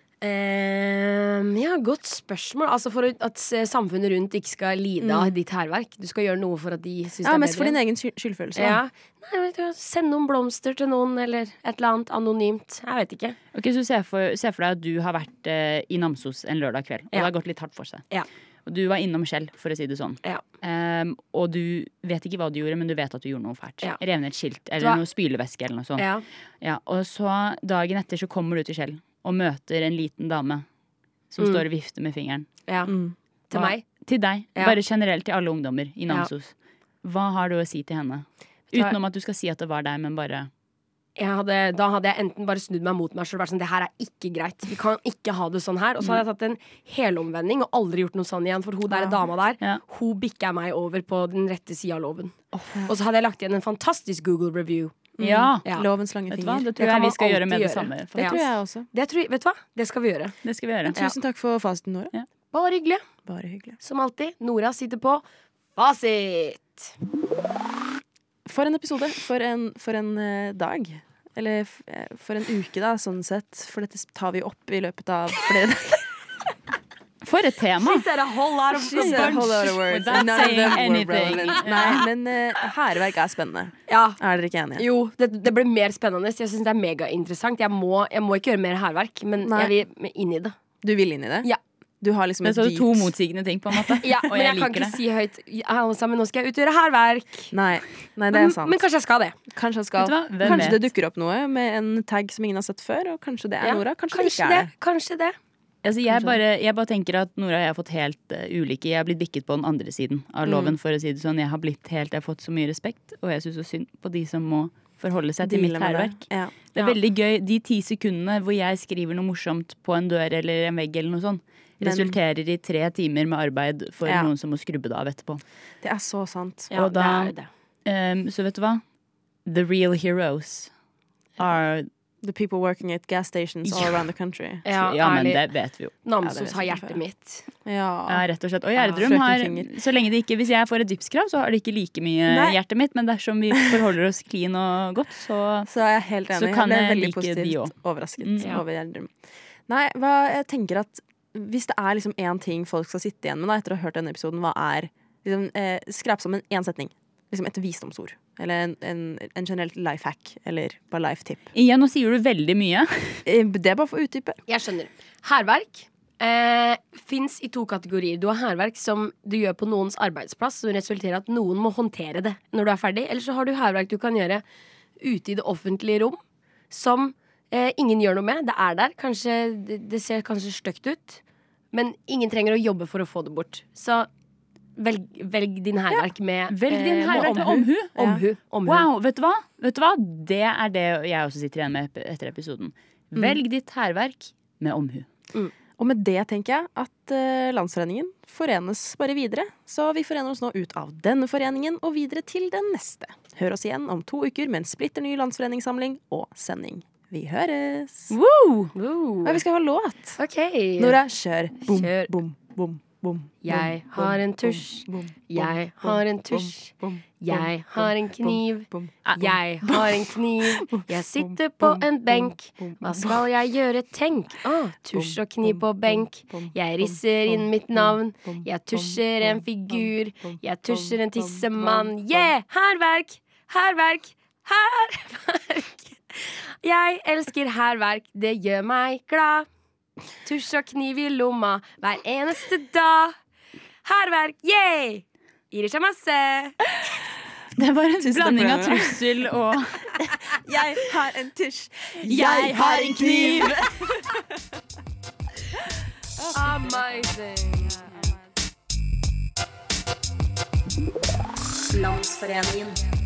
[SPEAKER 3] Ehm, ja, godt spørsmål. Altså For at s- samfunnet rundt ikke skal lide av
[SPEAKER 1] Mm.
[SPEAKER 3] ditt hærverk. Du skal gjøre noe for at de syns
[SPEAKER 1] Ja,
[SPEAKER 3] det er
[SPEAKER 1] mest for
[SPEAKER 3] bedre.
[SPEAKER 1] din egen skyld- skyldfølelse. da.
[SPEAKER 3] Ja. Nei, vet du, hva, send noen blomster til noen, eller et eller annet anonymt. Jeg vet ikke.
[SPEAKER 2] Ok, Så se for, se for deg at du har vært eh, i Namsos en lørdag kveld, og det har gått litt hardt for seg.
[SPEAKER 3] Ja.
[SPEAKER 2] Og du var innom Skjell, for å si det sånn. Ehm, og du vet ikke hva du gjorde, men du vet at du gjorde noe fælt.
[SPEAKER 3] Ja.
[SPEAKER 2] Rev ned et skilt
[SPEAKER 3] var-
[SPEAKER 2] eller noe spylevæske eller noe sånt.
[SPEAKER 3] Ja.
[SPEAKER 2] Ja, og så dagen etter så kommer du til Skjell og møter en liten dame som
[SPEAKER 3] Mm.
[SPEAKER 2] står og vifter med fingeren.
[SPEAKER 3] Ja. Til
[SPEAKER 2] Hva-
[SPEAKER 3] meg.
[SPEAKER 2] Til deg.
[SPEAKER 3] Ja.
[SPEAKER 2] Bare generelt til alle ungdommer i
[SPEAKER 3] Ja.
[SPEAKER 2] Namsos. Hva har du å si til henne?
[SPEAKER 3] du hva-
[SPEAKER 2] Utenom at du skal si at det var deg, men bare
[SPEAKER 3] Jeg hadde, da hadde jeg enten bare snudd meg mot meg selv og vært sånn Det her er ikke greit. Vi kan ikke ha det sånn her. Og så hadde jeg tatt en helomvending og aldri gjort noe sånn igjen. For hun der dama der, hun bikka meg over på den rette sida av loven. Og så hadde jeg lagt igjen en fantastisk Google review.
[SPEAKER 2] Ja.
[SPEAKER 1] Lovens lange
[SPEAKER 2] Vet du hva?
[SPEAKER 1] finger.
[SPEAKER 2] Det tror jeg vi skal gjøre med det samme,
[SPEAKER 1] Det
[SPEAKER 2] faktisk.
[SPEAKER 1] tror jeg også.
[SPEAKER 3] Det tror, jeg- vet du hva? Det skal vi gjøre.
[SPEAKER 2] Det skal vi gjøre.
[SPEAKER 1] Tusen takk for fasiten, Nora.
[SPEAKER 3] Bare hyggelig.
[SPEAKER 1] Bare hyggelig.
[SPEAKER 3] Som alltid. Nora sitter på fasit.
[SPEAKER 1] For en episode. For en, for en eh, dag. Eller f- eh, for en uke, da, sånn sett. For dette tar vi opp i løpet av flere
[SPEAKER 3] <laughs>
[SPEAKER 1] dager.
[SPEAKER 2] For et tema!
[SPEAKER 3] She said a whole lot of-
[SPEAKER 1] She said a whole lot of words.
[SPEAKER 2] Without
[SPEAKER 1] and None of
[SPEAKER 2] saying
[SPEAKER 1] them were
[SPEAKER 2] anything.
[SPEAKER 1] relevant.
[SPEAKER 3] Ja.
[SPEAKER 1] Nei, men eh, hærverk er spennende.
[SPEAKER 3] Ja.
[SPEAKER 1] Er dere ikke enige?
[SPEAKER 3] Jo, det, det blir mer spennende. Jeg syns det er megainteressant. Jeg må, jeg må ikke gjøre mer hærverk, men
[SPEAKER 1] Nei.
[SPEAKER 3] jeg vil inn i det.
[SPEAKER 1] Du vil inn i det?
[SPEAKER 3] Ja.
[SPEAKER 1] Du har liksom
[SPEAKER 2] Men
[SPEAKER 1] et
[SPEAKER 2] så er det to
[SPEAKER 1] dypt
[SPEAKER 2] motsigende ting, på en måte.
[SPEAKER 3] <laughs> Ja,
[SPEAKER 2] og
[SPEAKER 3] men jeg, kan
[SPEAKER 2] liker
[SPEAKER 3] ikke
[SPEAKER 2] det.
[SPEAKER 3] si høyt alle sammen, nå skal jeg utgjøre hærverk.
[SPEAKER 1] Nei, nei, det
[SPEAKER 3] Men-
[SPEAKER 1] er sant.
[SPEAKER 3] Men kanskje jeg skal det.
[SPEAKER 1] Kanskje, han skal,
[SPEAKER 3] Vet du hva? Hvem
[SPEAKER 1] kanskje det
[SPEAKER 3] vet?
[SPEAKER 1] dukker opp noe med en tag som ingen har sett før, og kanskje det er
[SPEAKER 3] Ja,
[SPEAKER 1] Nora. Kanskje, det
[SPEAKER 3] kanskje
[SPEAKER 1] ikke er
[SPEAKER 3] det. Kanskje det.
[SPEAKER 2] Altså, jeg, bare, jeg bare tenker at Nora og jeg har fått helt eh, ulike Jeg har blitt bikket på den andre siden av
[SPEAKER 1] Mm.
[SPEAKER 2] loven. for å si det sånn. Jeg har blitt helt, jeg har fått så mye respekt, og jeg syns så synd på de som må forholde seg til
[SPEAKER 1] Deale
[SPEAKER 2] mitt
[SPEAKER 1] med det.
[SPEAKER 2] hærverk.
[SPEAKER 1] Ja.
[SPEAKER 2] Det er
[SPEAKER 1] Ja.
[SPEAKER 2] veldig gøy. De ti sekundene hvor jeg skriver noe morsomt på en dør eller en vegg, eller noe sånt,
[SPEAKER 1] Men-
[SPEAKER 2] resulterer i tre timer med arbeid for
[SPEAKER 1] Ja.
[SPEAKER 2] noen som må skrubbe det av etterpå.
[SPEAKER 1] det. Det er så sant.
[SPEAKER 2] Og da- ehm, så vet du hva? The real heroes are
[SPEAKER 1] The people working at gas stations all
[SPEAKER 2] Ja.
[SPEAKER 1] around the country.
[SPEAKER 2] Ja, men det vet vi jo.
[SPEAKER 1] Ja, det
[SPEAKER 3] Namsos
[SPEAKER 1] vet
[SPEAKER 3] har
[SPEAKER 1] vi
[SPEAKER 3] hjertet
[SPEAKER 1] fra.
[SPEAKER 3] mitt.
[SPEAKER 2] Ja,
[SPEAKER 1] Ja.
[SPEAKER 2] rett og slett. Og
[SPEAKER 1] Ja.
[SPEAKER 2] Gjerdrum
[SPEAKER 1] Frøken
[SPEAKER 2] har
[SPEAKER 1] Finger.
[SPEAKER 2] så lenge det ikke, Hvis jeg får et dipskrav, så har det ikke like mye
[SPEAKER 1] Nei.
[SPEAKER 2] i hjertet mitt, men dersom vi forholder oss clean og godt, så,
[SPEAKER 1] Så er jeg helt enig.
[SPEAKER 2] så
[SPEAKER 1] jeg
[SPEAKER 2] kan
[SPEAKER 1] ble
[SPEAKER 2] jeg
[SPEAKER 1] veldig
[SPEAKER 2] like de
[SPEAKER 1] positivt
[SPEAKER 2] òg.
[SPEAKER 1] overrasket
[SPEAKER 2] Mm, ja.
[SPEAKER 1] over Gjerdrum. Nei, hva, jeg tenker at hvis det er liksom én ting folk skal sitte igjen med da, etter å ha hørt denne episoden, hva er liksom, eh, Skrap sammen én setning. Liksom et visdomsord. Eller en, en, en generelt life hack. Eller bare life tip.
[SPEAKER 2] Igjen, nå sier du veldig mye.
[SPEAKER 1] Eh, Det er bare for å utdype.
[SPEAKER 3] Jeg skjønner. Hærverk eh, fins i to kategorier. Du har hærverk som du gjør på noens arbeidsplass, som resulterer i at noen må håndtere det når du er ferdig. Eller så har du hærverk du kan gjøre ute i det offentlige rom, som eh, ingen gjør noe med. Det er der. Kanskje, det, det ser kanskje stygt ut, men ingen trenger å jobbe for å få det bort. Så velg, velg din hærverk med
[SPEAKER 2] Velg
[SPEAKER 1] Eh,
[SPEAKER 2] din hærverk med omhu.
[SPEAKER 3] Omhu. omhu.
[SPEAKER 2] Wow, vet du hva? Vet du hva? Det er det jeg også sitter igjen med ep- etter episoden.
[SPEAKER 1] Mm.
[SPEAKER 2] Velg ditt hærverk med omhu.
[SPEAKER 1] Og med det tenker jeg at eh, Landsforeningen forenes bare videre. Så vi forener oss nå ut av denne foreningen og videre til den neste. Hør oss igjen om to uker med en splitter ny landsforeningssamling og sending. Vi høres! Ja, vi skal ha låt. Nora, kjør. Bom, bom, bom, bom.
[SPEAKER 3] Jeg
[SPEAKER 1] bom,
[SPEAKER 3] har en
[SPEAKER 1] bom,
[SPEAKER 3] tusj.
[SPEAKER 1] bom, bom, bom,
[SPEAKER 3] Jeg har en
[SPEAKER 1] bom,
[SPEAKER 3] tusj.
[SPEAKER 1] bom, bom, bom,
[SPEAKER 3] Jeg har en
[SPEAKER 1] bom,
[SPEAKER 3] kniv. Ah,
[SPEAKER 1] bom, bom.
[SPEAKER 3] Jeg har en
[SPEAKER 1] <laughs>
[SPEAKER 3] kniv. Jeg sitter på en benk. Hva skal jeg gjøre, tenk?
[SPEAKER 1] <laughs>
[SPEAKER 3] Ah, tusj og kniv på benk. Jeg risser inn mitt navn. Jeg tusjer en figur. Jeg tusjer en tissemann. Yeah! Hærverk! Hærverk! Hærverk! <laughs> Jeg elsker hærverk. Det gjør meg glad. Tusj og kniv i lomma hver eneste dag. Hærverk, yeah! Irishamase.
[SPEAKER 2] Det var en
[SPEAKER 3] takk for
[SPEAKER 2] blanding
[SPEAKER 3] det,
[SPEAKER 2] av
[SPEAKER 3] Nora.
[SPEAKER 2] trussel og
[SPEAKER 1] <laughs> Jeg har en tusj.
[SPEAKER 2] Jeg har en kniv.
[SPEAKER 3] Amazing. Landsforeningen.
[SPEAKER 11] Landsforeningen.